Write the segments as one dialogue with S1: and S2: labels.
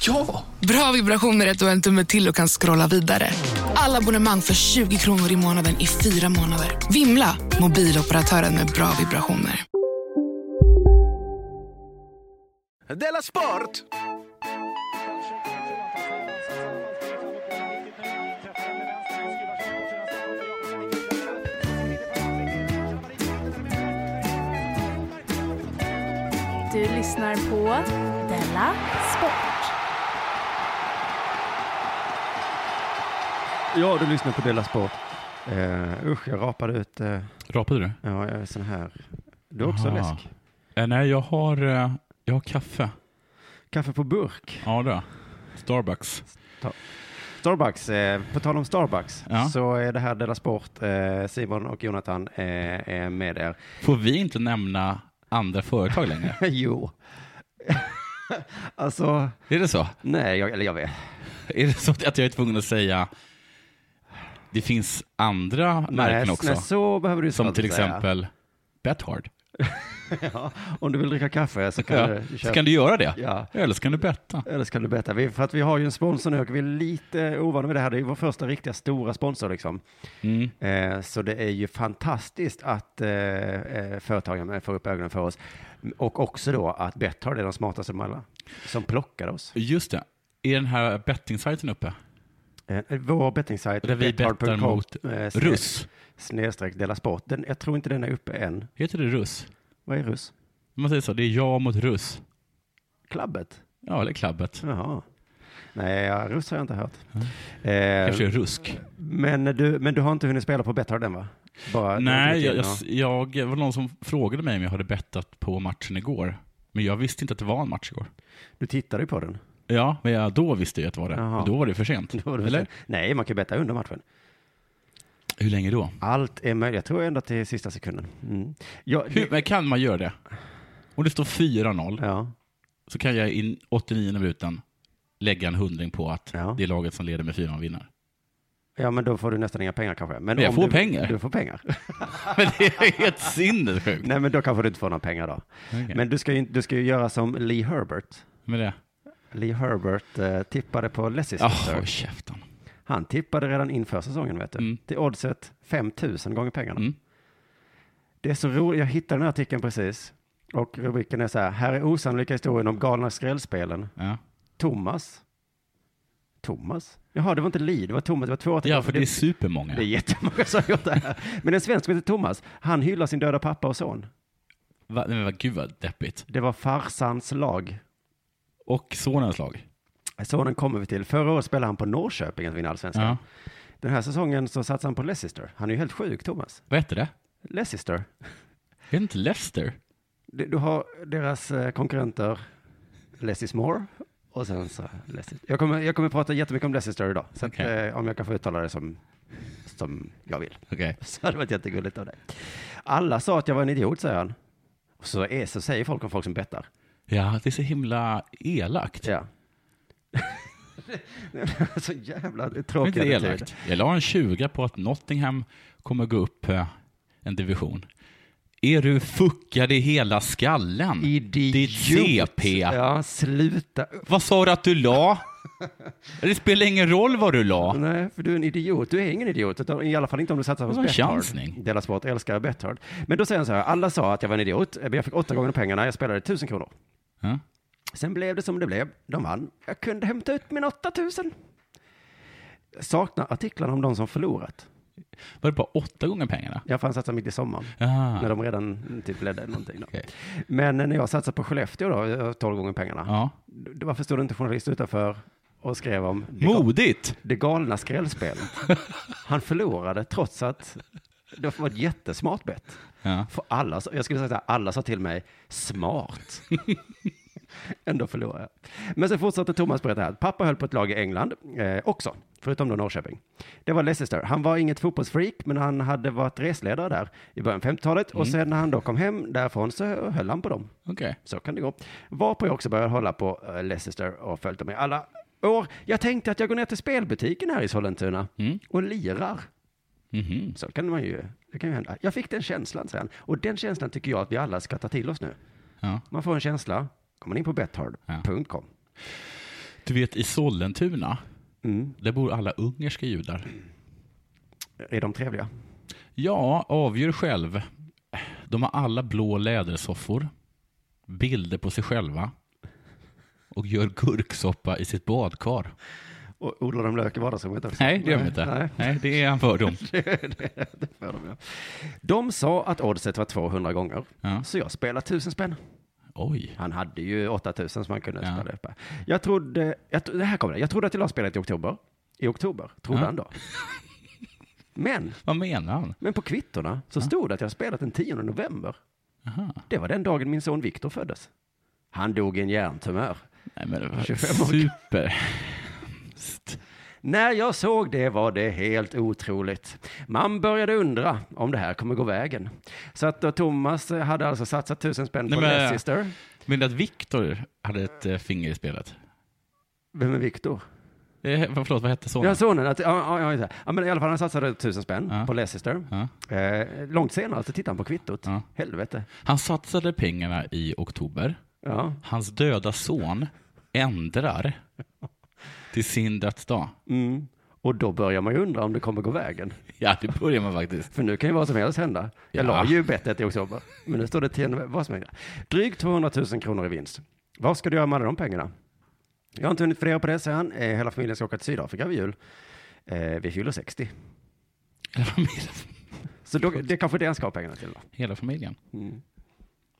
S1: Ja!
S2: Bra vibrationer är att du har en tumme till och kan scrolla vidare. Alla abonnemang för 20 kronor i månaden i fyra månader. Vimla! Mobiloperatören med bra vibrationer.
S1: Della Sport!
S3: Du lyssnar på Della Sport.
S4: Ja, du lyssnar på Della Sport. Uh, usch, jag rapade ut. eh,
S5: Rapade du?
S4: ja, jag är sån här. Du har också
S5: Aha.
S4: läsk.
S5: Eh, nej, jag har, eh, jag har kaffe.
S4: Kaffe på burk.
S5: Ja, då. Starbucks.
S4: Starbucks. eh, på tal om Starbucks
S5: Ja.
S4: så är det här Della Sport. eh, Simon och Jonathan eh, är med er.
S5: Får vi inte nämna andra företag längre?
S4: jo. alltså,
S5: Är det så?
S4: nej, jag, eller jag vet.
S5: Är det så att jag är tvungen att säga det finns andra märken
S4: nej,
S5: också?
S4: nej, så behöver du
S5: som
S4: inte
S5: till
S4: säga.
S5: exempel Bethard.
S4: ja, om du vill dricka kaffe så kan
S5: Ja.
S4: du
S5: Så
S4: köpa.
S5: kan du göra det.
S4: Ja.
S5: Eller så kan du betta.
S4: Eller så kan du berätta. Vi, för att vi har ju en sponsor nu och vi är lite ovana med det här. Det är ju vår första riktiga stora sponsor liksom.
S5: Mm.
S4: Eh, så det är ju fantastiskt att eh, eh, företagen får upp ögonen för oss. Och också då att Betthard är de smartaste av dem alla. Som plockar oss.
S5: Just det. Är den här bettingsajten uppe?
S4: Eh, vår bettingsajt.
S5: Där vi bettar
S4: betthard.com,
S5: mot
S4: eh, sne-
S5: russ.
S4: Snedstreck dela sport. Den, jag tror inte den är uppe än.
S5: Heter det russ?
S4: Vad är russ?
S5: Man säger så, det är jag mot russ.
S4: Klabbet?
S5: Ja, eller klabbet.
S4: Jaha. Nej, ja, russ har jag inte hört.
S5: Kanske
S4: Eh,
S5: är rusk.
S4: men, du, men du har inte hunnit spela på Betthard än va? Bara,
S5: Nej,
S4: du har
S5: jag,
S4: inte
S5: jag,
S4: gått in
S5: jag det var någon som frågade mig om jag hade bettat på matchen igår. Men jag visste inte att det var en match igår.
S4: och- Du tittade ju på den.
S5: Ja, men jag, då visste jag att det var det.
S4: Jaha.
S5: Men då var det för sent.
S4: Då var det-
S5: Eller?
S4: Nej, man kan ju betta under matchen.
S5: Hur länge då?
S4: Allt är möjligt. Jag tror ända till sista sekunden. Mm. Ja,
S5: Hur, men kan man göra det? Om det står 4-0
S4: ja,
S5: så kan jag i 89 minuten lägga en hundring på att
S4: Ja.
S5: det är laget som leder med 4-0 vinner.
S4: ja, men då får du nästan inga pengar kanske.
S5: Men jag
S4: om
S5: får
S4: du,
S5: pengar.
S4: Du får pengar.
S5: Men det är helt sinnessjukt.
S4: Nej, men då kanske du inte får några pengar då.
S5: Okej.
S4: Men du ska, ju, du ska ju göra som Lee Herbert.
S5: Med det?
S4: Lee Herbert eh, tippade på Leicester.
S5: Åh, håll käften.
S4: Han tippade redan inför säsongen, vet du.
S5: Mm.
S4: Till oddset 5 000 gånger pengarna.
S5: Mm.
S4: Det är så roligt. Jag hittade den här artikeln precis. Och rubriken är så här. Här är osannolika historien om galna skrällspelen.
S5: Ja.
S4: Thomas. Thomas? Jaha, det var inte Lee, det var Thomas. Det var två
S5: ja, för det är
S4: Det är
S5: supermånga.
S4: jättemånga som har gjort det här. Men en svensk som heter Thomas, han hyllar sin döda pappa och son.
S5: Va, nej, men vad, gud vad deppigt.
S4: Det var farsans lag.
S5: Och sonens lag.
S4: Sonen kommer vi till. Förra året spelade han på Norrköping att vinna allsvenskan.
S5: Ja.
S4: Den här säsongen så satsade han på Leicester. Han är ju helt sjuk, Thomas.
S5: Vad heter det?
S4: Leicester.
S5: Är det inte Leicester?
S4: Du, du har deras eh, konkurrenter Leicester Moore och sen så Leicester. Jag kommer, jag kommer prata jättemycket om Leicester idag. Så att,
S5: Okej.
S4: eh, om jag kan få uttala det som, som jag vill.
S5: Okej.
S4: Så det hade varit jättegulligt av dig. Alla sa att jag var en idiot, säger han. Och så, är, så säger folk om folk som bettar.
S5: Ja, det är så himla elakt.
S4: Ja. så jävla
S5: Det är
S4: tråkig
S5: inte
S4: attityd.
S5: elakt. Jag la en 20 på att Nottingham kommer gå upp eh, en division. Är du fuckad i hela skallen?
S4: Idiot.
S5: Ditt CP.
S4: Ja, sluta.
S5: Vad sa du att du la? Det spelar ingen roll vad du la.
S4: Nej, för du är en idiot. Du är ingen idiot, utan i alla fall inte om du satsar
S5: Det
S4: på
S5: var en
S4: Betthard.
S5: chansning.
S4: Dela Sport älskar Betthard. Men då säger han så här, alla sa att jag var en idiot, men jag fick åtta gånger pengarna, jag spelade tusen kronor.
S5: Ja.
S4: Sen blev det som det blev. De vann. Jag kunde hämta ut min 8000. Jag saknar artiklarna om de som förlorat.
S5: Var det bara åtta gånger pengarna?
S4: Jag fann satsa mitt i sommaren. När
S5: Aha.
S4: de redan typ ledde eller någonting. Då.
S5: Okej.
S4: Men eh, när jag satsade på Skellefteå då, jag har 12 gånger pengarna.
S5: Ja.
S4: D- Varför stod det inte journalist utanför och skrev om det, ga-
S5: Modigt!
S4: det galna skrällspelet? Han förlorade trots att det var ett jättesmart bett.
S5: Ja.
S4: För alla, sa- jag skulle säga att alla sa till mig, smart. Ändå förlorade jag. Men sen fortsatte Thomas berätta här. Pappa höll på ett lag i England eh, också, förutom då Norrköping. Det var Leicester. Han var inget fotbollsfreak, men han hade varit resledare där i början av 50-talet. Och sen när han då kom hem därifrån så höll han på dem.
S5: Okej.
S4: Så kan det gå. Varpå jag också började hålla på eh, Leicester och följt dem i alla år. Jag tänkte att jag går ner till spelbutiken här i Sollentuna
S5: Mm.
S4: och lirar.
S5: Mhm.
S4: Så kan man ju, det kan ju hända. Jag fick den känslan, säger han. Och den känslan tycker jag att vi alla ska ta till oss nu.
S5: Ja.
S4: Man får en känsla, går man in på bethard.com.
S5: Du vet, i Sollentuna,
S4: Mm.
S5: där bor alla ungerska judar.
S4: Är de trevliga?
S5: Ja, avgör själv. De har alla blå lädersoffor, bilder på sig själva och gör gurksoppa i sitt badkar.
S4: Och odlar de lök i vardagsrummet också?
S5: Nej, det gör de
S4: Nej.
S5: inte. Nej, det är en fördom.
S4: För dem, ja. De sa att oddset var 200 gånger,
S5: Ja.
S4: så jag spelade 1000 spänn.
S5: Oj.
S4: Han hade ju 8000 som han kunde
S5: Ja.
S4: spela upp. här. Jag trodde, jag, tro- det här kommer det. Jag trodde att jag la spelet i oktober. I oktober, trodde
S5: Ja.
S4: han då. Men,
S5: Vad menar han?
S4: men på kvittorna så stod det att jag spelat den 10 november.
S5: Aha.
S4: Det var den dagen min son Viktor föddes. Han dog i en hjärntumör.
S5: Nej, men det
S4: 25
S5: var
S4: år.
S5: super.
S4: När jag såg det var det helt otroligt. Man började undra om det här kommer gå vägen. Så att då Thomas hade alltså satsat tusen spänn på
S5: Nej, men-
S4: Leicester.
S5: Men att Viktor hade ett eh, finger i spelet?
S4: Vem är Viktor?
S5: Eh, vad- förlåt, vad hette sonen?
S4: Ja, sonen. Att, ja, ja, ja, just det. ja, men i alla fall han satsade tusen spänn
S5: Ja.
S4: på Leicester.
S5: Ja.
S4: Eh, långt senare så tittade han på kvittot.
S5: Ja.
S4: Helvete.
S5: Han satsade pengarna i oktober.
S4: Ja.
S5: Hans döda son ändrar till sin dödsdag.
S4: Mm. Och då börjar man ju undra om det kommer gå vägen.
S5: Ja, det börjar man faktiskt.
S4: För nu kan ju vad som helst hända. Jag
S5: Ja.
S4: la ju bettet i oktober. Men nu står det 10 november. Vad som helst. Drygt 200 000 kronor i vinst. Vad ska du göra med alla de pengarna? Jag har inte hunnit fundera på det, säger han. Eh, hela familjen ska åka till Sydafrika vid jul. Eh, vi fyller 60.
S5: Hela familjen.
S4: Så då, det är kanske det han ska ha pengarna till. Då.
S5: Hela familjen.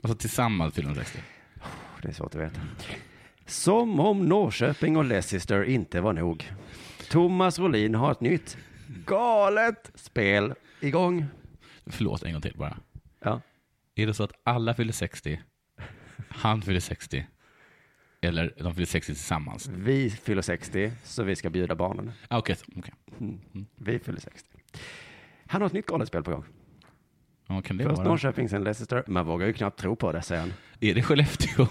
S5: Alltså tillsammans fyller de 60.
S4: Det är svårt att veta. Som om Norrköping och Leicester inte var nog. Thomas Rolin har ett nytt galet spel igång.
S5: Förlåt, en gång till bara.
S4: Ja.
S5: Är det så att alla fyller 60, han fyller 60, eller de fyller 60 tillsammans?
S4: Vi fyller 60, så vi ska bjuda barnen.
S5: Ah, Okej, okej.
S4: Vi fyller 60. Han har ett nytt galet spel på gång.
S5: Ja, kan det
S4: Först
S5: vara?
S4: Norrköping, sen Leicester. Man vågar ju knappt tro på det, säger han.
S5: Är det Skellefteå?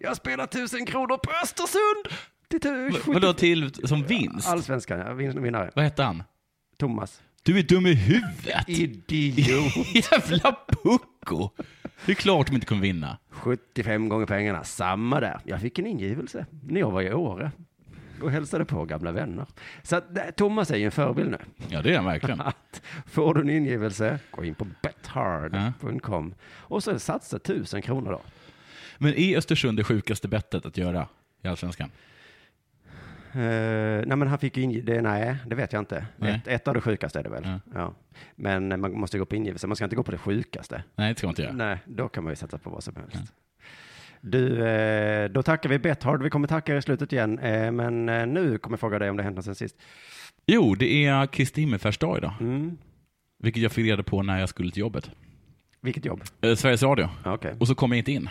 S4: Jag spelar tusen kronor på Östersund! Det är
S5: V-
S4: tu-
S5: Vadå till som vinst?
S4: Allsvenskan, ja, vin- vinnare.
S5: Vad hette han?
S4: Thomas.
S5: Du är dum i huvudet!
S4: Idiot.
S5: Jävla pucko! Det är klart de inte kommer vinna.
S4: 75 gånger pengarna, samma där. Jag fick en ingivelse när jag var i Åre och hälsade på gamla vänner. Så att, det- Thomas är ju en förebild nu.
S5: Ja, det är han verkligen.
S4: Att får du en ingivelse, gå in på bethard.com och så satsa 1000 kronor då.
S5: Men är Östersund det sjukaste bettet att göra i Allsvenskan?
S4: Eh, nej, men han fick ju inge- det, nej, det vet jag inte.
S5: Nej.
S4: Ett, ett av det sjukaste är det väl.
S5: Ja.
S4: Ja. Men man måste gå på ingivelse, man ska inte gå på det sjukaste.
S5: Nej, det ska man inte göra.
S4: Nej, då kan man ju sätta på vad som helst.
S5: Mm.
S4: Du, eh, då tackar vi Bethard. Vi kommer tacka er i slutet igen, eh, men eh, nu kommer jag fråga dig om det har hänt något sen sist.
S5: Jo, det är Kristi himmelsfärdsdag idag.
S4: Mm.
S5: Vilket jag fick reda på när jag skulle till jobbet.
S4: Vilket jobb?
S5: Eh, Sveriges Radio.
S4: Ja, Okej.
S5: Och så kom jag inte in.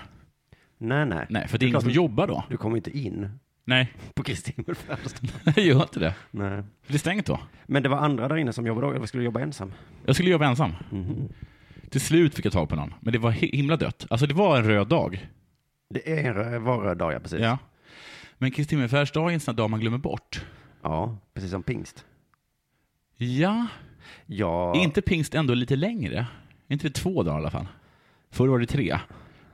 S4: Nej, nej.
S5: Nej, för det
S4: Det är
S5: är ingen som
S4: klart.
S5: jobbar då.
S4: Du kommer inte in
S5: Nej,
S4: på Kristi Himmelsfärdsdag.
S5: jag gör inte det.
S4: nej.
S5: Det är stängt då.
S4: Men det var andra där inne som jobbade då, eller skulle jobba ensam.
S5: Jag skulle jobba ensam.
S4: Mhm.
S5: Till slut fick jag tag på någon, men det var hi- himla dött. Alltså det var en röd dag.
S4: Det är en rö- var röd dag, ja, precis.
S5: Ja. Men Kristi himmelsfärdsdag är en sån här dag man glömmer bort.
S4: Ja, precis som pingst.
S5: Ja,
S4: Ja,
S5: Är inte pingst ändå lite längre? Är inte det två dagar i alla fall? Förr var det tre.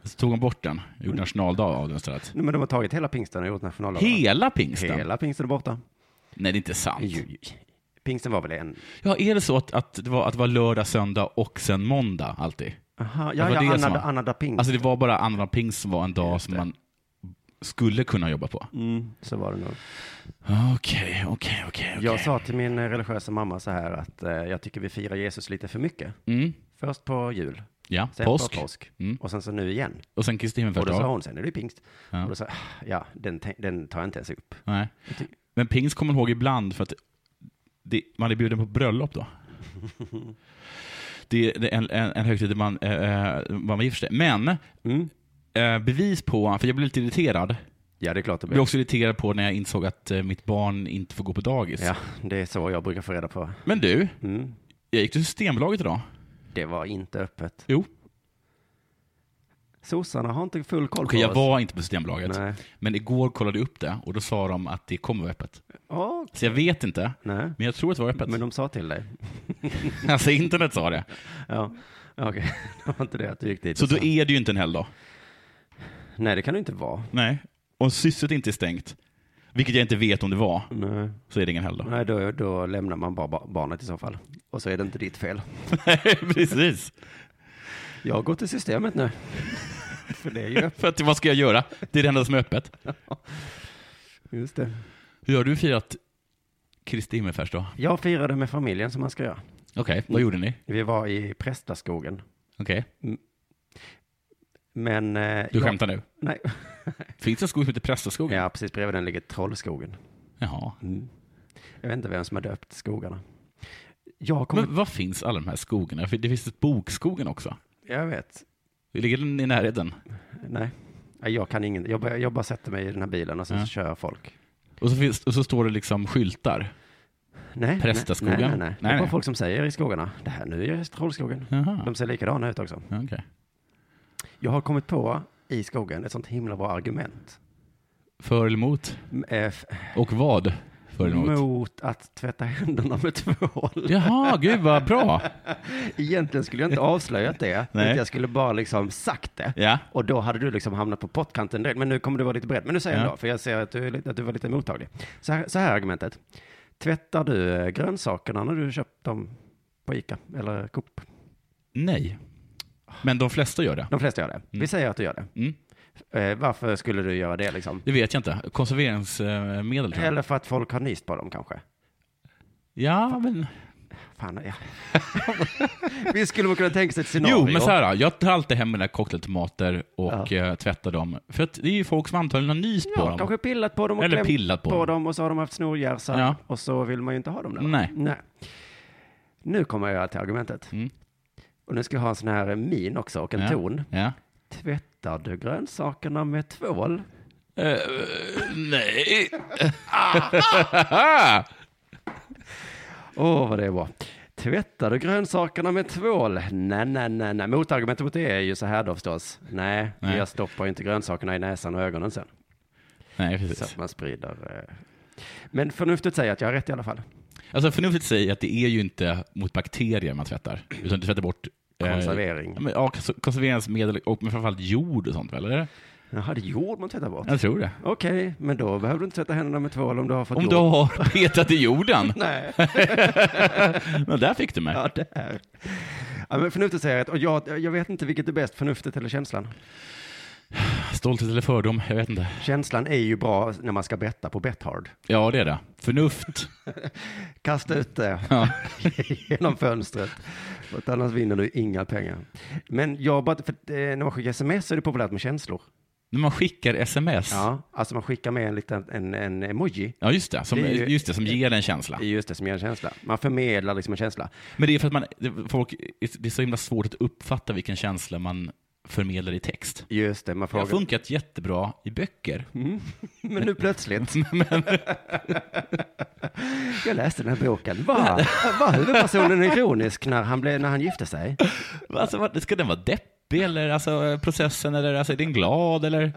S5: Så tog de bort den, gjorde nationaldag av den istället.
S4: Nej, men de har tagit hela pingsten och gjort nationaldag.
S5: Hela pingsten?
S4: Hela pingsten är borta.
S5: Nej, det är inte sant.
S4: Jo, jo. Pingsten var väl en...
S5: Ja, är det så att, att, det var, att det var lördag, söndag och sen måndag alltid?
S4: Aha,
S5: Det
S4: ja,
S5: var
S4: ja,
S5: det som
S4: annandag
S5: var-
S4: annandag pingst.
S5: Alltså det var bara annandag pingst som var en dag
S4: Just
S5: som
S4: det.
S5: man skulle kunna jobba på.
S4: Så var det nog.
S5: Okej, okej, okej.
S4: Jag
S5: okej.
S4: sa till min eh, religiösa mamma så här att eh, jag tycker vi firar Jesus lite för mycket.
S5: Mm.
S4: Först på jul,
S5: Ja,
S4: sen
S5: påsk.
S4: på påsk
S5: Mm.
S4: och sen så nu igen.
S5: Och sen Kristi
S4: Och då sa
S5: himmelfärdsdag.
S4: hon, sen är det ju pingst.
S5: Ja.
S4: Och då sa jag, "Ah, ja, den, tän- den tar jag inte ens upp.
S5: Nej. Men pingst kommer man ihåg ibland för att det, man är bjuden på bröllop då. Det är det är en, en, en högtid där man, eh, eh, man gifter sig. Men
S4: Mm.
S5: eh, bevis på, för jag blev lite irriterad.
S4: Ja, det är klart det
S5: Jag blev
S4: blir.
S5: också irriterad på när jag insåg att eh, mitt barn inte får gå på dagis.
S4: Ja, det är så jag brukar få reda på.
S5: Men du,
S4: Mm.
S5: jag gick till Systembolaget idag.
S4: Det var inte öppet.
S5: Jo.
S4: Sossarna har inte full koll
S5: Okej,
S4: på
S5: jag
S4: oss.
S5: var inte på Systembolaget.
S4: Nej.
S5: Men igår kollade jag upp det och då sa de att det kommer vara öppet.
S4: Åh,
S5: Så jag vet inte,
S4: nej.
S5: men jag tror att det var öppet.
S4: Men de sa till dig.
S5: Alltså internet sa det.
S4: Ja, okej. Det var inte det att du gick dit.
S5: Så
S4: och
S5: då
S4: sa-
S5: är det ju inte en helgdag.
S4: Nej, det kan du inte vara.
S5: Nej. Om sysset inte är stängt, vilket jag inte vet om det var,
S4: Nej,
S5: så är det ingen helgdag.
S4: Nej då, då lämnar man bara ba- barnet i så fall. Och så är det inte ditt fel.
S5: Nej, precis.
S4: Jag går till systemet nu. För det är ju öppet.
S5: För att, vad ska jag göra? Det är det enda som är öppet.
S4: Just det.
S5: Hur har du firat Kristi himmelfärdsdag?
S4: Jag firade med familjen som man ska göra.
S5: Okej, vad gjorde ni?
S4: Vi var i Prästaskogen.
S5: Okej,
S4: Men... eh,
S5: du
S4: jag-
S5: skämtar nu.
S4: Nej.
S5: Finns det en skog som heter Prästaskogen?
S4: Ja, precis bredvid den ligger Trollskogen.
S5: Jaha.
S4: Mm. Jag vet inte vem som har döpt skogarna. Jag kommer...
S5: Men vad finns alla de här skogarna? För det finns ett Bokskogen också.
S4: Jag vet.
S5: Ligger den i närheten?
S4: Nej. Nej, Jag kan ingen... Jag, bara- jag bara sätter mig i den här bilen och sen
S5: Ja.
S4: så kör jag folk.
S5: Och så, finns, och så står det liksom skyltar.
S4: Nej,
S5: Prästaskogen?
S4: Nej, nej, nej. Det
S5: Nej,
S4: är bara
S5: nej.
S4: folk som säger i skogarna. Det här, nu är det Trollskogen.
S5: Jaha.
S4: De ser likadana ut också.
S5: Okej.
S4: Jag har kommit på i skogen ett sånt himla bra argument.
S5: För eller emot?
S4: M- eh, f-
S5: Och vad? För eller emot?
S4: Mot att tvätta händerna med tvål.
S5: Jaha, gud vad bra.
S4: Egentligen skulle jag inte avslöjat det.
S5: Nej.
S4: utan Jag skulle bara liksom sagt det.
S5: Ja.
S4: Och då hade du liksom hamnat på pottkanten direkt. Men nu kommer du vara lite beredd. Men nu säger
S5: Ja.
S4: jag då, för jag ser att du, är lite, att du var lite mottaglig. Så här, så här är argumentet. Tvättar du eh, grönsakerna när du köpt dem på Ica eller Coop?
S5: Nej. Men de flesta gör det.
S4: De flesta gör det. Vi säger att du gör det.
S5: Mm.
S4: Eh, varför skulle du göra det liksom?
S5: Det vet jag inte. Konserveringsmedel tror jag.
S4: Eller för att folk har nyst på dem kanske?
S5: Ja, men...
S4: Fan, ja. Vi skulle väl kunna tänka sig ett scenario.
S5: Jo, men så här, då. jag tar alltid hem mina cocktailtomater och eh, tvättar dem. För att det är ju folk som antagligen har nyst på
S4: Ja,
S5: dem.
S4: kanske pillat på dem och
S5: Eller
S4: klämt
S5: pillat på dem.
S4: och så har de haft snorgärsar
S5: Ja.
S4: och så vill man ju inte ha dem där.
S5: Nej.
S4: Nu kommer jag till argumentet.
S5: Mm.
S4: Och nu ska jag ha en sån här min också och en
S5: ja.
S4: ton.
S5: Ja.
S4: Tvättar du grönsakerna med tvål?
S5: Eh, nej.
S4: Åh, vad det är bra. Tvättar du grönsakerna med tvål? Nej, nej, nej, nej. Motargumentet mot det är ju så här då förstås. Nej,
S5: Nej.
S4: jag stoppar ju inte grönsakerna i näsan och ögonen sen.
S5: Nej,
S4: Så att
S5: precis.
S4: man sprider. eh. Men förnuftet säger att jag har rätt i alla fall.
S5: Alltså förnuftigt säger att det är ju inte mot bakterier man tvättar, utan du tvättar bort eh,
S4: Konservering.
S5: ja, men, ja, kons- konserveringsmedel och men framförallt jord och sånt väl? Eller?
S4: Jaha, det är jord man tvättar bort.
S5: Jag tror det.
S4: Okej, men då behöver du inte tvätta händerna med tvål om du har fått
S5: Om
S4: jord.
S5: du har petat i jorden.
S4: Nej,
S5: Men där fick du mig.
S4: ja, det är. Ja, men förnuftet säger att, och jag, jag vet inte vilket är bäst, förnuftet eller känslan.
S5: Stolthet eller fördom, jag vet inte.
S4: Känslan är ju bra när man ska betta på Bethard.
S5: Ja, det är det. Förnuft.
S4: Kasta ut det
S5: Ja.
S4: genom fönstret. För att annars vinner du inga pengar. Men jag bara, för eh, när man skickar sms så är det populärt med känslor.
S5: När man skickar sms. Ja,
S4: Ja, alltså man skickar med en liten en, en emoji.
S5: just, det, som,
S4: Det är ju-
S5: just det. Som ger en känsla.
S4: Det är just det som ger en känsla. Man förmedlar liksom en känsla.
S5: Men det är för att man, det- folk, det är så himla svårt att uppfatta vilken känsla man förmedlar i text.
S4: Just det, man
S5: Det
S4: frågar.
S5: har funkat jättebra i böcker.
S4: Mm. Men nu plötsligt. Jag läste den här boken. Var, var huvudpersonen ironisk när han, blev, när han gifte sig?
S5: Alltså, vad- ska den vara deppig eller alltså, processen eller alltså, är den glad eller?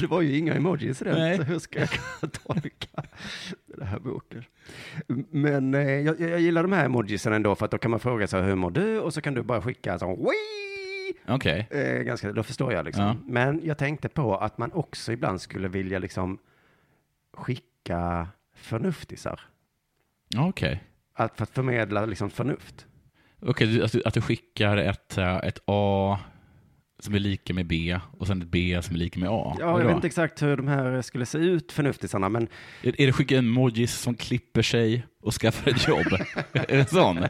S4: Det var ju inga emojis i den,
S5: Nej.
S4: så hur ska jag kunna tolka den här boken? Men eh, jag, jag gillar de här emojisen ändå, för att då kan man fråga sig hur mår du? Och så kan du bara skicka en sån "Wii!"
S5: Okej.
S4: eh, ganska, då förstår jag liksom.
S5: Ja.
S4: Men jag tänkte på att man också ibland skulle vilja liksom skicka förnuftisar.
S5: Ja, Okej.
S4: Att, för att förmedla liksom förnuft.
S5: Okej, du- att, du- att du skickar ett, eh, ett A som är lika med B och sen ett B som är lika med A.
S4: Ja,
S5: Vadå?
S4: jag vet inte exakt hur de här skulle se ut, förnuftisarna, men
S5: Är, är det skicka emojis som klipper sig och skaffar ett jobb? är det sån?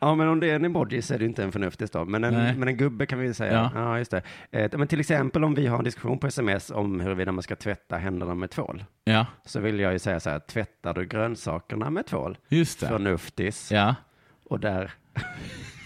S4: Ja, men om det är en emoji så är det ju inte en förnuftig stav. Men en,
S5: Nej.
S4: men en gubbe kan vi ju säga. Ja.
S5: Ja.
S4: just det. Eh, men till exempel om vi har en diskussion på sms om huruvida man ska tvätta händerna med tvål,
S5: Ja,
S4: så vill jag ju säga så här, tvättar du grönsakerna med tvål?
S5: just det.
S4: Förnuftis.
S5: Ja.
S4: Och där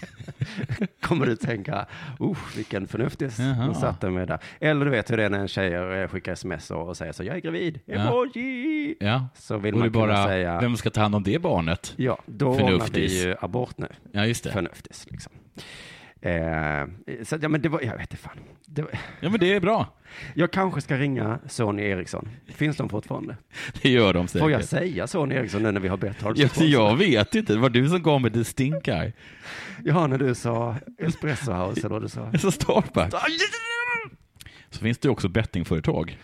S4: kommer du tänka, oh, vilken förnuftis hon
S5: Jaha.
S4: satte mig där. Eller du vet hur det är när en tjej eh, skickar sms och och säger så, jag är gravid,
S5: Ja.
S4: emoji!
S5: ja.
S4: Så vill
S5: och det
S4: man
S5: är
S4: kunna
S5: bara,
S4: säga,
S5: vem ska ta hand om det barnet?
S4: ja, då ordnar vi
S5: Förnuftis.
S4: ju abort nu.
S5: Ja, just det.
S4: förnuftigt. Liksom. Eh, så, att, ja, men det var, jag vet inte fan. Det var,
S5: Ja, men det är bra.
S4: jag kanske ska ringa Sony Eriksson. Finns de fortfarande?
S5: Det gör de
S4: Får jag
S5: säkert.
S4: säga Sony Eriksson nu när vi har betalt?
S5: Jag, jag vet inte, det var du som gav mig the stink eye.
S4: Ja, när du sa Espresso House eller vad du sa.
S5: Så Starbucks. Så finns det ju också bettingföretag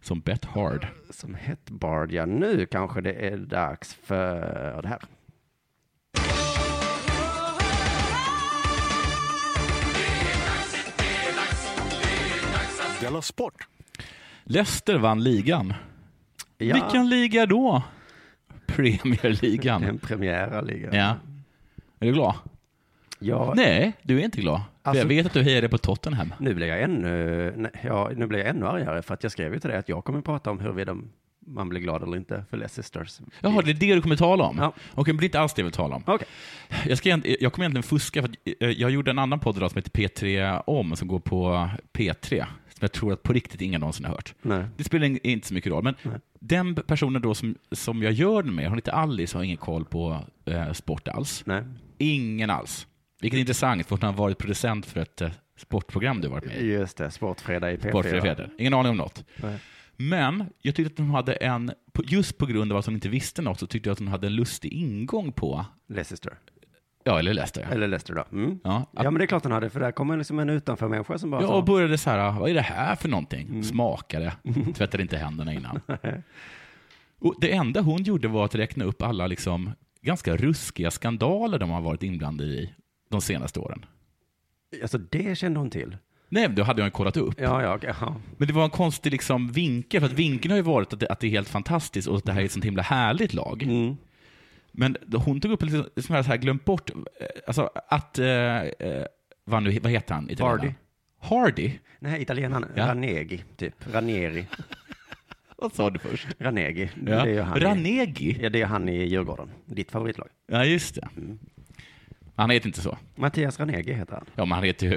S5: som Bet Hard.
S4: Som Hetbard, ja nu kanske det är dags för det här.
S1: Della Sport!
S5: Leicester vann ligan.
S4: Ja,
S5: Vilken liga då? Premierligan.
S4: En premiärliga.
S5: Ja. Är du glad?
S4: Ja,
S5: Nej, du är inte glad. För
S4: Alltså-
S5: jag vet att du hejade på Tottenham.
S4: nu blir jag ännu, nej, ja, nu blir jag ännu argare för att jag skrev ju till dig att jag kommer prata om huruvida man blir glad eller inte för Leicesters.
S5: Jaha, det är det du kommer tala om?
S4: Ja.
S5: Okej, men det är inte alls det jag vill tala om.
S4: Okej.
S5: Jag, ska, egent- jag kommer egentligen fuska, för att eh, jag gjorde en annan podd idag som heter P3 om, som går på P3, som jag tror att på riktigt ingen någonsin har hört.
S4: Nej.
S5: Det spelar in- inte så mycket roll, men den personen då som, som jag gör den med, hon heter Alice och har ingen koll på eh, sport alls.
S4: Nej.
S5: Ingen alls. Vilket är intressant, för hon har varit producent för ett eh, sportprogram du har varit med i.
S4: Just det, Sportfredag i P4.
S5: Bortfria fjäder. Ingen aning om något.
S4: Nej.
S5: Men jag tyckte att de hade en, på- just på grund av att de inte visste något, så tyckte jag att de hade en lustig ingång på,
S4: Leicester.
S5: ja, eller läste jag.
S4: Eller Leicester då. Mm. Ja.
S5: Ja, att,
S4: men det är klart den hade, för där kommer liksom en utanför människa som bara
S5: ja,
S4: sa,
S5: och började så här, vad är det här för någonting? Smakade, tvättade inte händerna innan. Och det enda hon gjorde var att räkna upp alla liksom, ganska ruskiga skandaler de har varit inblandade i de senaste åren.
S4: alltså det kände hon till.
S5: Nej, då hade jag ju kollat upp.
S4: Ja, ja, okej, ja.
S5: Men det var en konstig liksom vinkel, för att vinkeln har ju varit att det, att det är helt fantastiskt och att det här är ett sånt himla härligt lag.
S4: Mm.
S5: Men hon tog upp lite som jag så här glömt bort, eh, alltså att, eh, eh, vad, nu, vad heter han? italienaren?
S4: Hardy.
S5: Hardy?
S4: Nej, italienaren
S5: Ja.
S4: Ranegi, typ. Ranieri.
S5: Vad sa du först?
S4: Ranegi.
S5: Ja.
S4: Det är ju han. i-
S5: Ranegi?
S4: Ja, det är han i Djurgården. Ditt favoritlag.
S5: Ja, just det.
S6: Mm.
S5: Han heter inte så.
S4: Mattias Ranegi heter han.
S5: Ja, men han heter ju...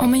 S7: Om en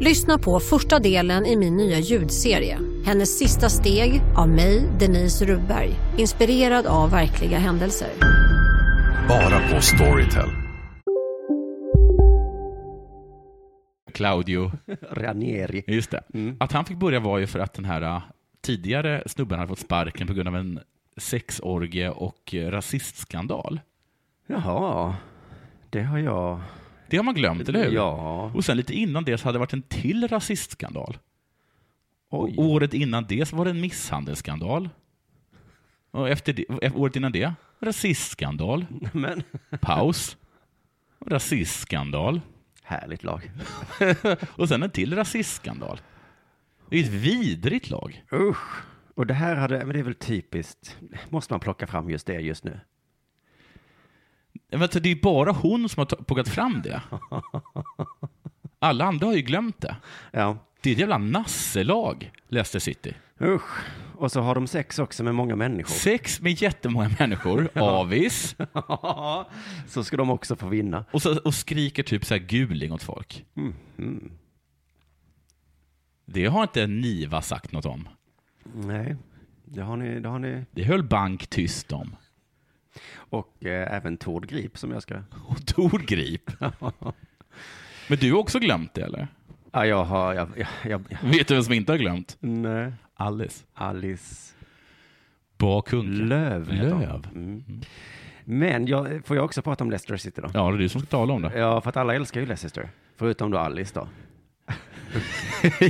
S8: Lyssna på första delen i min nya ljudserie. Hennes sista steg av mig, Denise Rubberg. Inspirerad av verkliga händelser.
S6: Bara på Storytel.
S5: Claudio.
S4: Ranieri.
S5: Just det.
S6: Mm.
S5: Att han fick börja var ju för att den här äh, tidigare snubben hade fått sparken på grund av en sexorgie och äh, rasistskandal.
S4: Jaha, det har jag.
S5: Det har man glömt, eller hur?
S4: Ja.
S5: Och sen lite innan det så hade det varit en till rasistskandal. Och
S4: Oj.
S5: året innan det så var det en misshandelsskandal. Och efter det, och året innan det, rasistskandal.
S4: Men,
S5: Paus. Rasistskandal.
S4: härligt lag.
S5: Och sen en till rasistskandal. Det är ett vidrigt lag.
S4: Usch. Och det här hade, men det är väl typiskt. Måste man plocka fram just det just nu?
S5: Men alltså, det är ju bara hon som har ta- plockat fram det. Alla andra har ju glömt det.
S4: Ja.
S5: Det är ett jävla nasselag, Leicester City.
S4: Usch. Och så har de sex också med många människor.
S5: Sex med jättemånga människor, avis.
S4: så ska de också få vinna.
S5: Och, så, och skriker typ så här guling åt folk.
S4: Mhm.
S5: Det har inte Niva sagt något om.
S4: Nej, det har ni. Det har ni.
S5: Det höll Bank tyst om.
S4: Och eh, även Tord Grip som jag ska...
S5: Och Tor Grip. Men du har också glömt det eller?
S4: Ja, jag har... Jag, jag, jag, jag.
S5: Vet du vem som inte har glömt?
S4: Nej.
S5: Alice.
S4: Alice
S5: Bakunken.
S4: Löv. heter hon.
S5: Löv.
S4: Mm. Men jag, får jag också prata om Leicester City då?
S5: Ja, det är du som ska tala om det.
S4: Ja, för att alla älskar ju Leicester. Förutom då Alice då.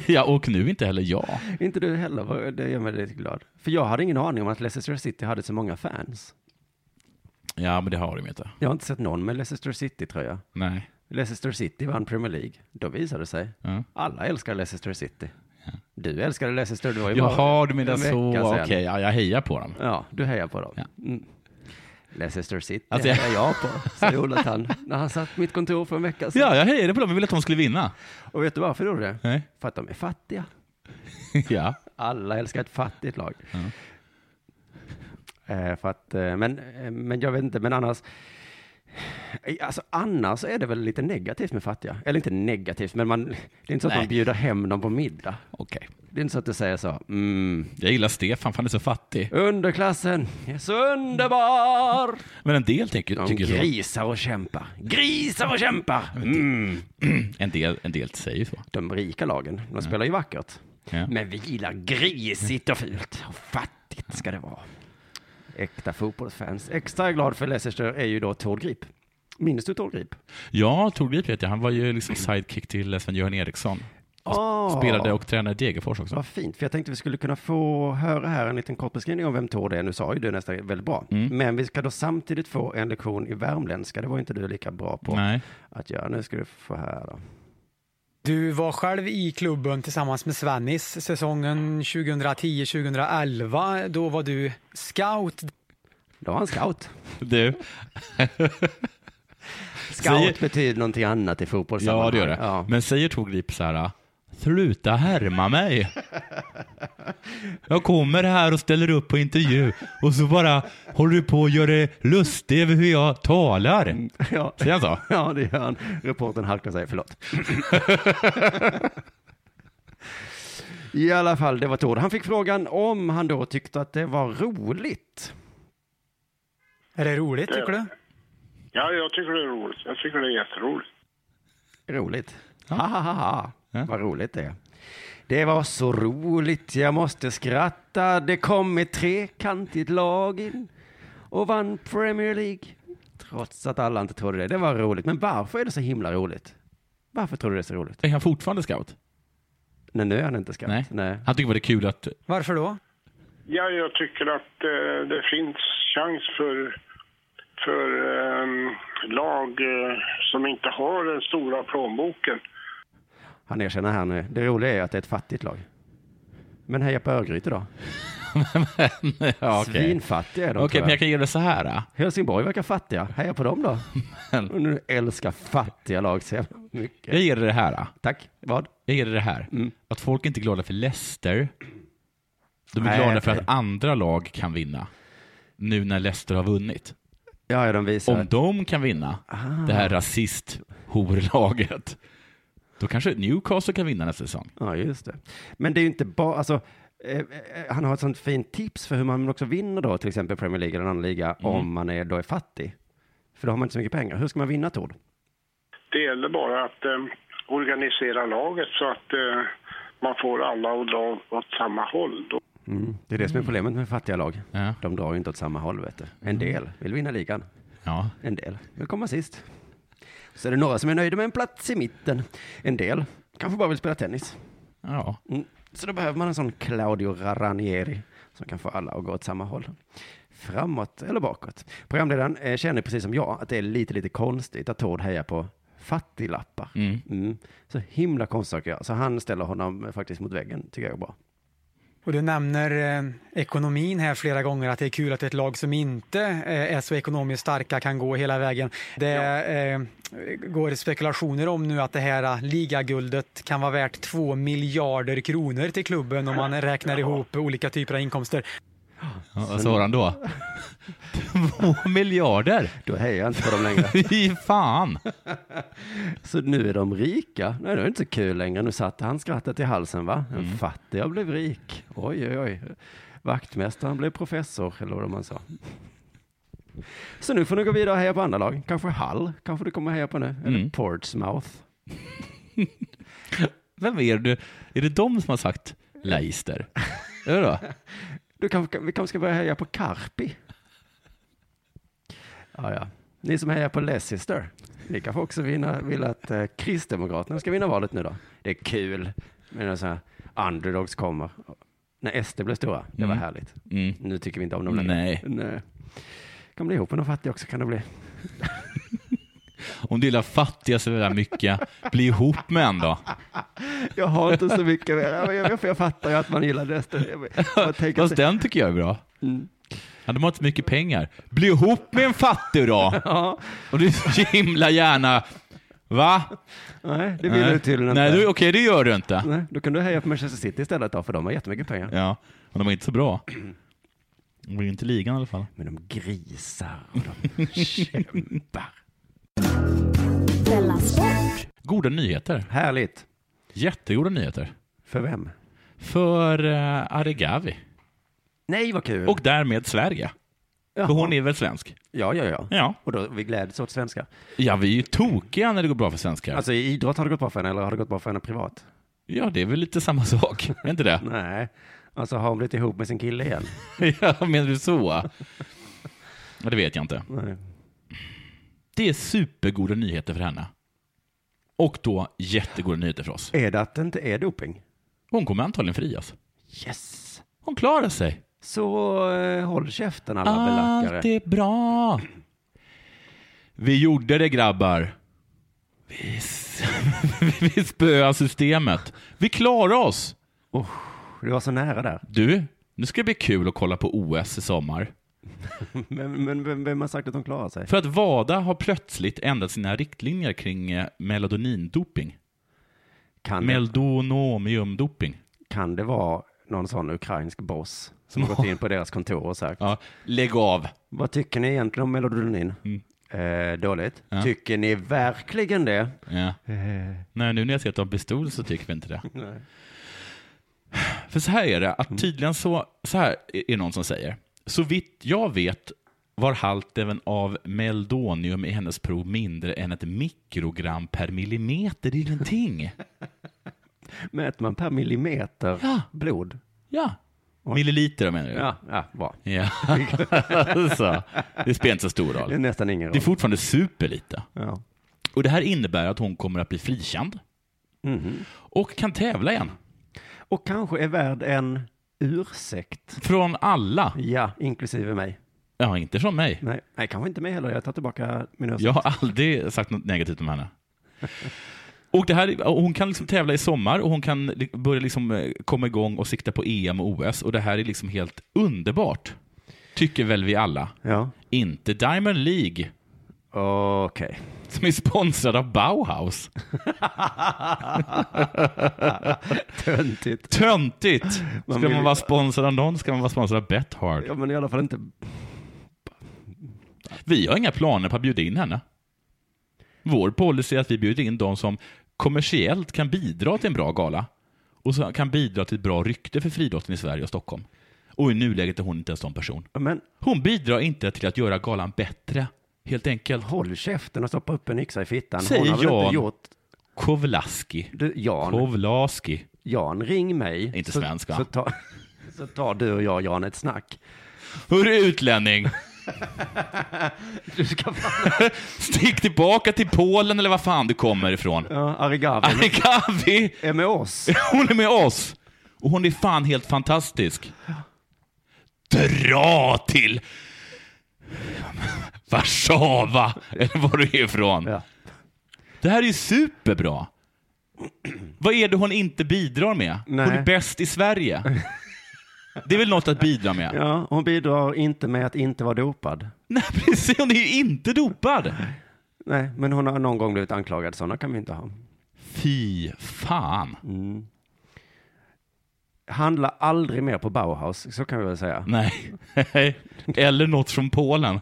S5: ja, och nu inte heller jag.
S4: Inte du heller, vad- det gör mig lite glad. För jag hade ingen aning om att Leicester City hade så många fans.
S5: Ja, men det har de ju inte.
S4: Jag har inte sett någon med Leicester City-tröja.
S5: Nej.
S4: Leicester City vann Premier League. Då visade det sig.
S5: Ja.
S4: Alla älskar Leicester City. Du älskade Leicester, du var ju
S5: Jaha,
S4: bara
S5: du menar
S4: en
S5: så.
S4: vecka
S5: Okej,
S4: sedan.
S5: ja, jag hejar på dem.
S4: Ja, du hejar på dem.
S5: Ja.
S4: Mm. Leicester City
S5: Alltså, jag-
S4: hejar jag på, sa Jonathan när han satt på mitt kontor för en vecka sedan.
S5: Ja, jag hejade på dem. Jag ville att de skulle vinna.
S4: Och vet du varför du gjorde det?
S5: Nej.
S4: För att de är fattiga.
S5: ja.
S4: Alla älskar ett fattigt lag. Eh, för att, eh, men, eh, men jag vet inte, men annars. Eh, Alltså annars är det väl lite negativt med fattiga. Eller inte negativt, men man, det är inte så att
S5: Nej.
S4: man bjuder hem dem på middag.
S5: Okej.
S4: Det är inte så att du säger så. Mm,
S5: Jag gillar Stefan, för han är så fattig.
S4: underklassen är så underbar.
S5: Men en del tycker,
S4: De
S5: tycker så.
S4: grisar och kämpar. Grisar och kämpar. Mm.
S5: En del, en del säger så.
S4: De rika lagen, de spelar ju vackert.
S5: Ja.
S4: Men vi gillar grisigt och fult. Och fattigt ska det vara. Äkta fotbollsfans. Extra glad för Leicester är ju då Tord Grip. Minns du Tord Grip?
S5: Ja, Tor Grip vet jag. Han var ju liksom sidekick till Sven-Göran Eriksson.
S4: Ah,
S5: Spelade och tränade i Degerfors också.
S4: Vad fint, för jag tänkte vi skulle kunna få höra här en liten kort beskrivning om vem Tord är. Nu sa ju du nästan väldigt bra.
S5: Mm.
S4: Men vi ska då samtidigt få en lektion i värmländska. Det var inte du lika bra på
S5: Nej.
S4: att göra. Nu ska du få här då.
S9: Du var själv i klubben tillsammans med Svennis säsongen 2010-2011. Då var du scout.
S4: Då var han scout.
S5: Du.
S4: Scout
S5: Säger-
S4: betyder någonting annat i fotbollssammanhang.
S5: Ja, det gör det.
S4: Ja.
S5: Men säger Tor Grip så här, sluta härma mig. Jag kommer här och ställer upp på intervju och så bara håller du på och gör det lustig över hur jag talar.
S4: Ja.
S5: Säger han så?
S4: Ja, det gör han. Reportern halkar sig, förlåt. I alla fall, det var Tord. Han fick frågan om han då tyckte att det var roligt.
S9: Är det roligt tycker du?
S10: Ja, jag tycker det är roligt. Jag tycker det är jätteroligt.
S4: Roligt. Ha, ha, ha, ha. Vad roligt det är. Det var så roligt, jag måste skratta. Det kom ett trekantigt lag in och vann Premier League. Trots att alla inte trodde det. Det var roligt. Men varför är det så himla roligt? Varför tror du det är så roligt?
S5: Är han fortfarande scout?
S4: Nej, nu är han inte skratt.
S5: Nej.
S4: Nej.
S5: Han tycker bara det är kul att...
S9: Varför då?
S10: Ja, jag tycker att eh, det finns chans för, för ehm, lag eh, som inte har den stora plånboken.
S4: Han erkänner här nu. Det roliga är ju att det är ett fattigt lag. Men heja på Örgryte då.
S5: ja, okej.
S4: Svinfattiga är de
S5: Okej,
S4: tror
S5: men jag
S4: jag.
S5: kan göra det så här. Då.
S4: Helsingborg verkar fattiga. Heja på dem då.
S5: Men-
S4: Och nu älskar fattiga lag så jävla mycket.
S5: Jag ger dig det här. Då.
S4: Tack. Vad?
S5: Jag ger dig det här.
S9: Mm.
S5: Att folk är inte är glada för Leicester. De är
S4: Nej,
S5: glada för
S4: okej.
S5: att andra lag kan vinna. Nu när Leicester har vunnit.
S4: Ja, ja, de visar.
S5: Om de kan vinna det här rasist-horlaget, då kanske Newcastle kan vinna nästa säsong.
S4: Ja, just det. Men det är ju inte bara, alltså, eh, eh, han har ett sånt fint tips för hur man också vinner då, till exempel Premier League eller en annan liga, om man är, då är fattig. För då har man inte så mycket pengar. Hur ska man vinna, Tord?
S10: Det gäller bara att eh, organisera laget så att eh, man får alla att dra åt samma håll. Då.
S4: Det är det som är problemet med fattiga lag.
S5: Ja.
S4: De drar ju inte åt samma håll, vet du. En del vill vinna ligan.
S5: Ja.
S4: En del vill komma sist. Så är det några som är nöjda med en plats i mitten. En del kanske bara vill spela tennis.
S5: ja.
S4: Mm. Så då behöver man en sån Claudio Ranieri som kan få alla att gå åt samma håll. Framåt eller bakåt. Programledaren eh, känner precis som jag att det är lite, lite konstigt att Tord hejar på fattiglappar.
S5: Mm.
S4: Mm. Så himla konstigt att göra. Så han ställer honom eh, faktiskt mot väggen, tycker jag är bra.
S9: Och du nämner eh, ekonomin här flera gånger, att det är kul att ett lag som inte eh, är så ekonomiskt starka kan gå hela vägen. Det eh, går spekulationer om nu att det här eh, ligaguldet kan vara värt 2 miljarder kronor till klubben om man räknar ihop olika typer av inkomster.
S5: Ja, vad svarar han då? Två miljarder?
S4: Då hejar jag inte på dem längre.
S5: Fy fan!
S4: Så nu är de rika. Nej, det är inte så kul längre. Nu satte han skrattet i halsen, va? En fattig jag blev rik. Oj, oj, oj. Vaktmästaren blev professor, eller vad man sa. Så nu får ni gå vidare och heja på andra lag. Kanske Hull, kanske du kommer heja på nu. Eller Portsmouth.
S5: Vem är det? Är det de som har sagt Leicester? Är det då?
S4: Du kanske, vi kanske ska börja heja på Karpi. Ja, ja. Ni som hejar på Leicester, ni kanske också vinna, vill att eh, Kristdemokraterna ska vinna valet nu då. Det är kul med när så här underdogs kommer. När SD blev stora, det var
S5: Mm.
S4: härligt.
S5: Mm.
S4: Nu tycker vi inte om dem längre.
S5: Nej.
S4: Nej. Kan bli ihop med någon fattig också, kan det bli.
S5: Om du gillar fattiga så där mycket, bli ihop med en då.
S4: Jag har inte så mycket mer. Jag, jag, jag fattar ju att man gillar Leicester. Jag, jag tänker
S5: Fast den tycker jag är bra. Ja, de har inte så mycket pengar. Bli ihop med en fattig då!
S4: Ja.
S5: Och du så himla gärna... Va?
S4: Nej, det vill du tydligen
S5: Nej,
S4: inte.
S5: du- okej, det gör du inte.
S4: Nej, då kan du heja på Manchester City istället då, för de har jättemycket pengar.
S5: Ja, men de är inte så bra. De är inte i ligan i alla fall.
S4: Men de grisar och de kämpar.
S5: Goda nyheter.
S4: Härligt.
S5: Jättegoda nyheter.
S4: För vem?
S5: För uh, Aregawi.
S4: Nej, vad kul.
S5: Och därmed Sverige.
S4: Jaha.
S5: För hon är väl svensk?
S4: Ja, ja, ja.
S5: Ja.
S4: Och då, vi gläds åt svenskar.
S5: Ja, vi är ju tokiga när det går bra för svenskar.
S4: Alltså i idrott har det gått bra för henne, eller har det gått bra för henne privat?
S5: ja, det är väl lite samma sak. Är inte det?
S4: Nej. Alltså har hon blivit ihop med sin kille igen?
S5: ja, menar du så? Ja, det vet jag inte.
S4: Nej.
S5: Det är supergoda nyheter för henne. Och då jättegoda nyheter för oss.
S4: Är det att det inte är doping?
S5: Hon kommer antagligen frias.
S4: Yes!
S5: Hon klarar sig.
S4: Så eh, håll käften alla belackare.
S5: Allt är bra. Vi gjorde det grabbar. Vi, s- vi spöade systemet. Vi klarar oss.
S4: Du var så nära där.
S5: Du, nu ska det bli kul att kolla på OS i sommar.
S4: Men, men vem, vem har sagt att de klarar sig?
S5: För att WADA har plötsligt ändrat sina riktlinjer kring eh, melodonindoping.
S4: Kan det,
S5: Meldonomiumdoping.
S4: kan det vara någon sån ukrainsk boss som
S5: Som
S4: har gått in på deras kontor och sagt
S5: Ja, lägg av.
S4: Vad tycker ni egentligen om melodin? Eh, dåligt.
S5: Mm. Ja. Eh.
S4: Tycker ni verkligen det?
S5: Ja. Nej, nu när jag ser att de har pistol så tycker vi inte det.
S4: Nej. Mm.
S5: För så här är det, att tydligen så, så här är det någon som säger. Så vitt jag vet var halten av meldonium i hennes prov mindre än ett mikrogram per millimeter. Det är ju ingenting.
S4: Mäter man per millimeter
S5: Ja.
S4: blod?
S5: Ja. Milliliter menar jag.
S4: Ja, ja bra.
S5: ja. alltså, det spelar inte så stor
S4: Det är
S5: roll.
S4: nästan ingen
S5: Det är
S4: roll.
S5: fortfarande superlite.
S4: Ja.
S5: Och det här innebär att hon kommer att bli frikänd
S4: Mhm.
S5: och kan tävla igen.
S4: Och kanske är värd en ursäkt.
S5: Från alla.
S4: Ja, inklusive mig.
S5: Ja, inte från mig.
S4: Nej, nej kanske inte mig heller. Jag tar tillbaka min ursäkt.
S5: Jag har aldrig sagt något negativt om henne. Och det här, och hon kan liksom tävla i sommar och hon kan li- börja liksom eh, komma igång och sikta på EM och OS. Och det här är liksom helt underbart. Tycker väl vi alla.
S4: Ja.
S5: Inte Diamond League,
S4: Okej.
S5: som är sponsrad av Bauhaus.
S4: Töntigt.
S5: Töntigt! Ska
S4: Man
S5: man,
S4: vill-
S5: vara sponsrad av någon ska man vara sponsrad av Bethard.
S4: Ja, men i alla fall inte.
S5: Vi har inga planer på att bjuda in henne. Vår policy är att vi bjuder in de som kommersiellt kan bidra till en bra gala och som kan bidra till ett bra rykte för friidrotten i Sverige och Stockholm. Och i nuläget är hon inte en sån person.
S4: Men
S5: Hon bidrar inte till att göra galan bättre, helt enkelt.
S4: håll käften och stoppa upp en yxa i fittan. Hon
S5: Säger
S4: har väl inte
S5: Jan.
S4: gjort...
S5: Kovlaski.
S4: Du, Jan.
S5: Kovlaski.
S4: Jan, ring mig.
S5: Inte
S4: så,
S5: svensk, va?
S4: Så, ta, så tar du och jag, Jan, ett snack.
S5: Hörru utlänning,
S4: Du ska fan...
S5: stick tillbaka till Polen eller var fan du kommer ifrån.
S4: Ja, Arigavi
S5: Ah. Arikavi,
S4: är med oss.
S5: hon är med oss. Och hon är fan helt fantastisk. Dra till Warszawa, eller var du är ifrån.
S4: Ja.
S5: Det här är ju superbra. Vad är det hon inte bidrar med? Hon
S4: Nej.
S5: är bäst i Sverige. Det är väl något att bidra med?
S4: Ja, hon bidrar inte med att inte vara dopad.
S5: Nej, precis. Hon är ju inte dopad.
S4: Nej, men hon har någon gång blivit anklagad. Sådana kan vi inte ha.
S5: Fy fan.
S4: Mm. Handla aldrig mer på Bauhaus, så kan vi väl säga.
S5: Nej. Eller något från Polen.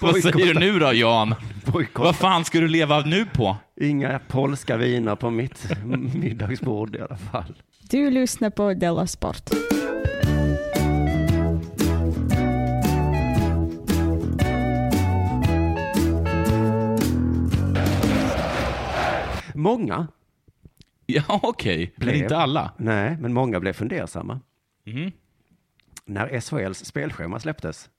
S5: Vad säger du nu då, Jan?
S4: Bojkott.
S5: Vad fan ska du leva nu på?
S4: Inga polska viner på mitt middagsbord i alla fall.
S11: Du lyssnar på Della Sport.
S4: Många
S5: Ja, okej. Men
S4: blev-
S5: inte alla.
S4: Nej, men många blev fundersamma.
S5: Mhm.
S4: När SHLs spelschema släpptes.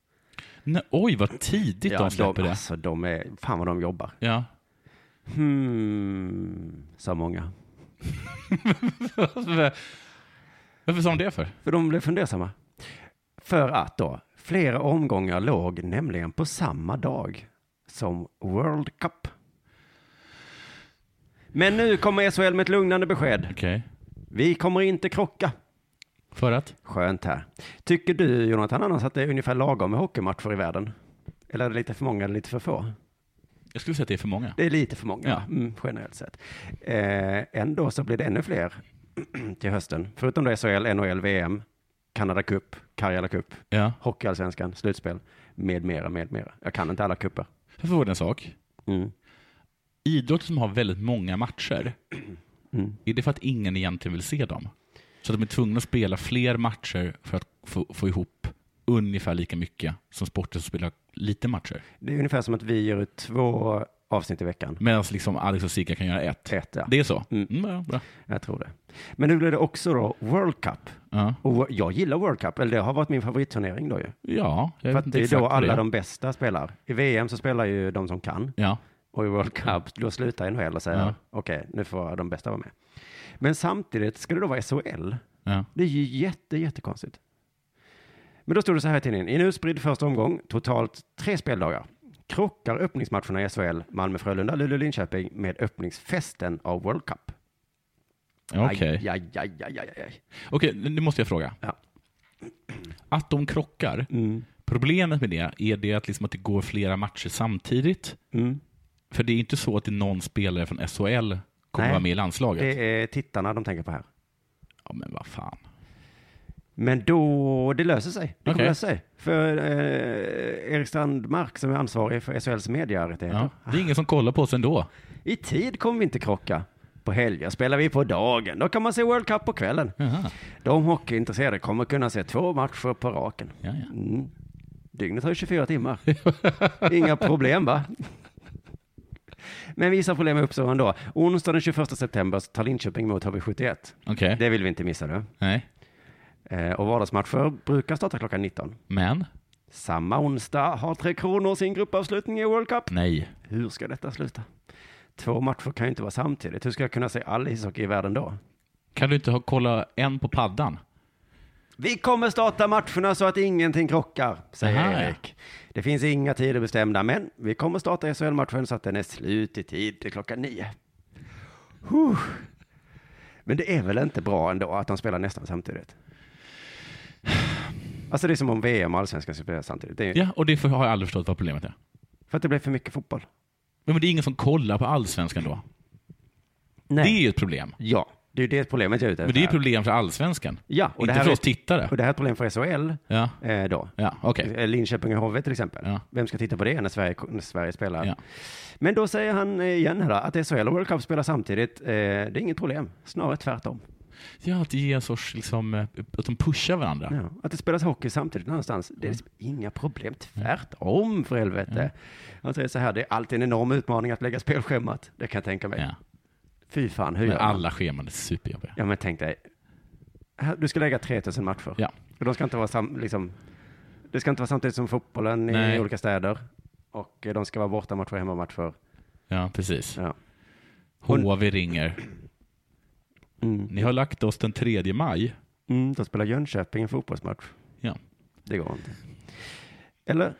S5: Nej, oj, vad tidigt de släpper
S4: de,
S5: det.
S4: Alltså, de är, fan vad de jobbar.
S5: Ja.
S4: Hmm, sa många.
S5: Varför sa de det för?
S4: För de blev fundersamma. För att då, flera omgångar låg nämligen på samma dag som World Cup. Men nu kommer SHL med ett lugnande besked.
S5: Okej.
S4: Vi kommer inte krocka.
S5: För att?
S4: Skönt här. Tycker du, Jonathan, annars att det är ungefär lagom med hockeymatcher i världen? Eller är det lite för många eller lite för få?
S5: Jag skulle säga att det är för många.
S4: Det är lite för många,
S5: Ja.
S4: va? mm, generellt sett. Eh, ändå så blir det ännu fler till hösten. Förutom då SHL, NHL, VM, Kanada Cup, Karjala Cup,
S5: Ja.
S4: Hockeyallsvenskan, slutspel, med mera, med mera. Jag kan inte alla cuper.
S5: Jag får en sak.
S4: Mm.
S5: Idrotter som har väldigt många matcher,
S4: Mm.
S5: är det för att ingen egentligen vill se dem? Så att de är tvungna att spela fler matcher för att få, få ihop ungefär lika mycket som sporter som spelar lite matcher?
S4: Det är ungefär som att vi gör ut två avsnitt i veckan.
S5: Medan liksom Alex och Sika kan göra ett.
S4: Ett, ja.
S5: Det är så?
S4: Mm.
S5: Mm, ja, bra.
S4: Jag tror det. Men nu blir det också då World Cup.
S5: Ja.
S4: Och jag gillar World Cup, eller det har varit min favoritturnering då ju.
S5: Ja, jag
S4: För
S5: vet
S4: att
S5: inte
S4: det är
S5: exakt
S4: då
S5: vad
S4: alla
S5: det är.
S4: de bästa spelar. I VM så spelar ju de som kan.
S5: Ja.
S4: Och i World Cup, då slutar NHL och säger
S5: Ja.
S4: okej, nu får de bästa vara med. Men samtidigt ska det då vara SHL.
S5: Ja.
S4: Det är ju jätte, jättekonstigt. Men då stod det så här i tidningen. I en utspridd första omgång, totalt tre speldagar, krockar öppningsmatcherna i SHL, Malmö-Frölunda, Luleå-Linköping med öppningsfesten av World Cup.
S5: Okej.
S4: Aj, aj, aj, aj, aj, aj.
S5: Okej, nu måste jag fråga.
S4: Ja.
S5: Att de krockar,
S4: Mm,
S5: problemet med det är det att, liksom att det går flera matcher samtidigt.
S4: mm.
S5: För det är inte så att det är någon spelare från SHL kommer
S4: Nej.
S5: vara med i landslaget.
S4: Det är tittarna de tänker på här.
S5: Ja, men vad fan.
S4: Men då, det löser sig. Det kommer
S5: Okej.
S4: lösa sig. För eh, Erik Strandmark som är ansvarig för SHLs medierättigheter.
S5: Ja. Det är ingen som kollar på oss ändå.
S4: I tid kommer vi inte krocka. På helger spelar vi på dagen. Då kan man se World Cup på kvällen.
S5: Jaha.
S4: De hockeyintresserade kommer kunna se två matcher på raken.
S5: Ja, ja.
S4: Mm. Dygnet har ju 24 timmar. Inga problem va? Men vissa problem uppstår ändå. Onsdag den 21 september så tar Linköping emot HV71.
S5: Okej.
S4: Det vill vi inte missa nu.
S5: Nej.
S4: Eh, Och vardagsmatcher brukar starta klockan 19.
S5: Men?
S4: Samma onsdag har Tre Kronor sin gruppavslutning i World Cup.
S5: Nej.
S4: Hur ska detta sluta? Två matcher kan ju inte vara samtidigt. Hur ska jag kunna se all ishockey i världen då?
S5: Kan du inte ha, kolla en på paddan?
S4: Vi kommer starta matcherna så att ingenting krockar, säger
S5: Aha, ja.
S4: Erik. Det finns inga tider bestämda, men vi kommer starta SHL-matchen så att den är slut i tid till klockan nio. Huh. Men det är väl inte bra ändå att de spelar nästan samtidigt? Alltså det är som om VM och allsvenskan skulle spela samtidigt. Det är,
S5: Ja, och det för- har jag aldrig förstått vad problemet är.
S4: För att det blev för mycket fotboll.
S5: Men det är ingen som kollar på allsvenskan då.
S4: Nej.
S5: Det är ju ett problem.
S4: Ja, det är ju det problemet jag är ute
S5: Men
S4: efter.
S5: det är ju ett
S4: här.
S5: problem för allsvenskan.
S4: Ja, och det
S5: inte
S4: här
S5: för
S4: är-
S5: oss tittare.
S4: Och det här är ett problem för SHL
S5: Ja,
S4: eh, då.
S5: ja okej.
S4: Eh, Linköping och HV till exempel.
S5: Ja.
S4: Vem ska titta på det när Sverige, när Sverige spelar?
S5: Ja.
S4: Men då säger han eh, igen här då, att SHL och World Cup spelar samtidigt. Eh, det är inget problem, snarare tvärtom.
S5: Ja, att det ger en sorts, liksom, eh, att de pushar varandra.
S4: Ja. Att det spelas hockey samtidigt någonstans,
S5: Mm.
S4: det är liksom inga problem. Tvärtom för helvete. Han säger så här, det är alltid en enorm utmaning att lägga spelschemat. Det kan jag tänka mig.
S5: Ja.
S4: Fy fan, hur
S5: Men
S4: gör man?
S5: alla scheman är superjobbiga.
S4: Ja, men tänk dig. Här, Du ska lägga 3000 matcher.
S5: Ja.
S4: Och de ska inte vara sam, liksom, det ska inte vara samtidigt som fotbollen i
S5: Nej.
S4: olika städer. Och eh, de ska vara bortamatcher och hemmamatcher.
S5: Ja, precis.
S4: Ja.
S5: HV ringer. Mm. Ni har lagt oss den 3 maj.
S4: Mm, då spelar Jönköping en fotbollsmatch.
S5: Ja.
S4: Det går inte. Eller?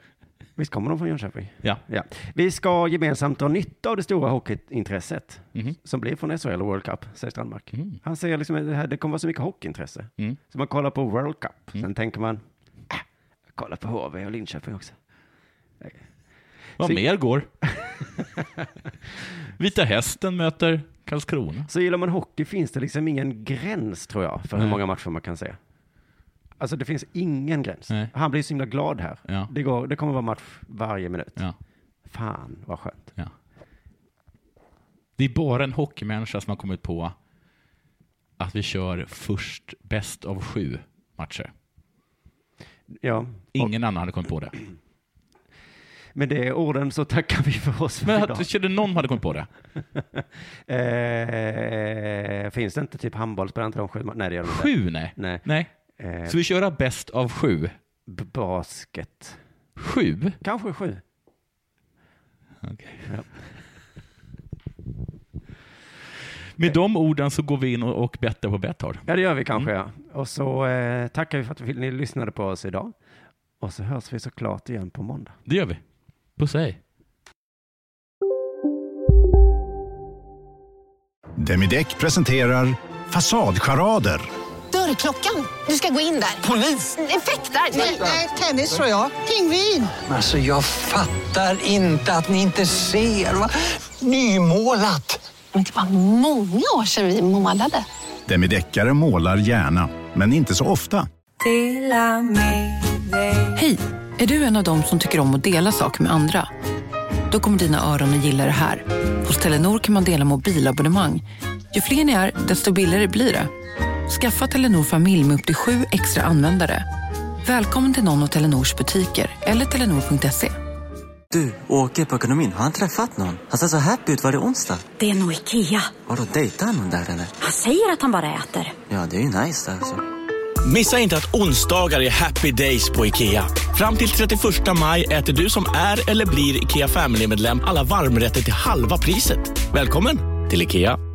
S4: Visst kommer de från Jönköping?
S5: Ja.
S4: ja. Vi ska gemensamt dra nytta av det stora hockeyintresset
S5: Mhm.
S4: som blir från SHL och World Cup, säger Strandmark. Han säger liksom att det, här, det kommer vara så mycket hockeyintresse.
S5: Mm.
S4: Så man kollar på World Cup, sen tänker man, "Ah, jag kollar på HV och Linköping också.
S5: Vad
S4: Så-
S5: mer går? Vita Hästen möter Karlskrona.
S4: Så gillar man hockey finns det liksom ingen gräns tror jag för hur
S5: Nej.
S4: många matcher man kan se. Alltså det finns ingen gräns.
S5: Nej.
S4: Han blir så himla glad här.
S5: Ja.
S4: Det, går, det kommer vara match varje minut.
S5: Ja.
S4: Fan vad skönt.
S5: Ja. Det är bara en hockeymänniska som har kommit på att vi kör först bäst av sju matcher.
S4: Ja.
S5: Ingen annan hade kommit på det.
S4: Med det orden så tackar vi för oss för
S5: Men
S4: idag.
S5: jag kände någon hade kommit på det.
S4: eh, finns det inte typ handboll? Spelar inte de sju ma- Nej, det gör de inte.
S5: Sju, nej.
S4: Nej.
S5: Nej.
S4: Eh,
S5: Så vi kör bäst av sju.
S4: b- basket.
S5: Sju?
S4: Kanske sju.
S5: Okej.
S4: Ja.
S5: Med de orden så går vi in och, och bettar på Betthard.
S4: Ja, det gör vi kanske,
S5: Mm.
S4: ja. Och så eh, tackar vi för att vi- ni lyssnade på oss idag. Och så hörs vi såklart igen på måndag.
S5: Det gör vi. Puss hej.
S12: Demideck presenterar Fasadcharader.
S13: Dörrklockan. Du ska gå in där. Polis? Effektar? Nej, nej, tennis tror jag. Pingvin.
S14: Alltså jag fattar inte att ni inte ser. Va? Nymålat!
S15: Men det var många år sedan vi målade.
S12: Demideckare målar gärna, men inte så ofta.
S7: Hej! Är du en av dem som tycker om att dela saker med andra? Då kommer dina öron att gilla det här. Hos Telenor kan man dela mobilabonnemang. Ju fler ni är, desto billigare blir det. Skaffa Telenor familj med upp till sju extra användare. Välkommen till någon av Telenors butiker eller telenor.se.
S16: Du, åker på ekonomin. Har han träffat någon? Han ser så happy ut. Var det onsdag?
S17: Det är nog Ikea.
S16: Har du dejtar han någon där eller?
S17: Han säger att han bara äter.
S16: Ja, det är ju nice alltså.
S18: Missa inte att onsdagar är happy days på IKEA. Fram till 31 maj äter du som är eller blir IKEA Family-medlem alla varmrätter till halva priset. Välkommen till IKEA!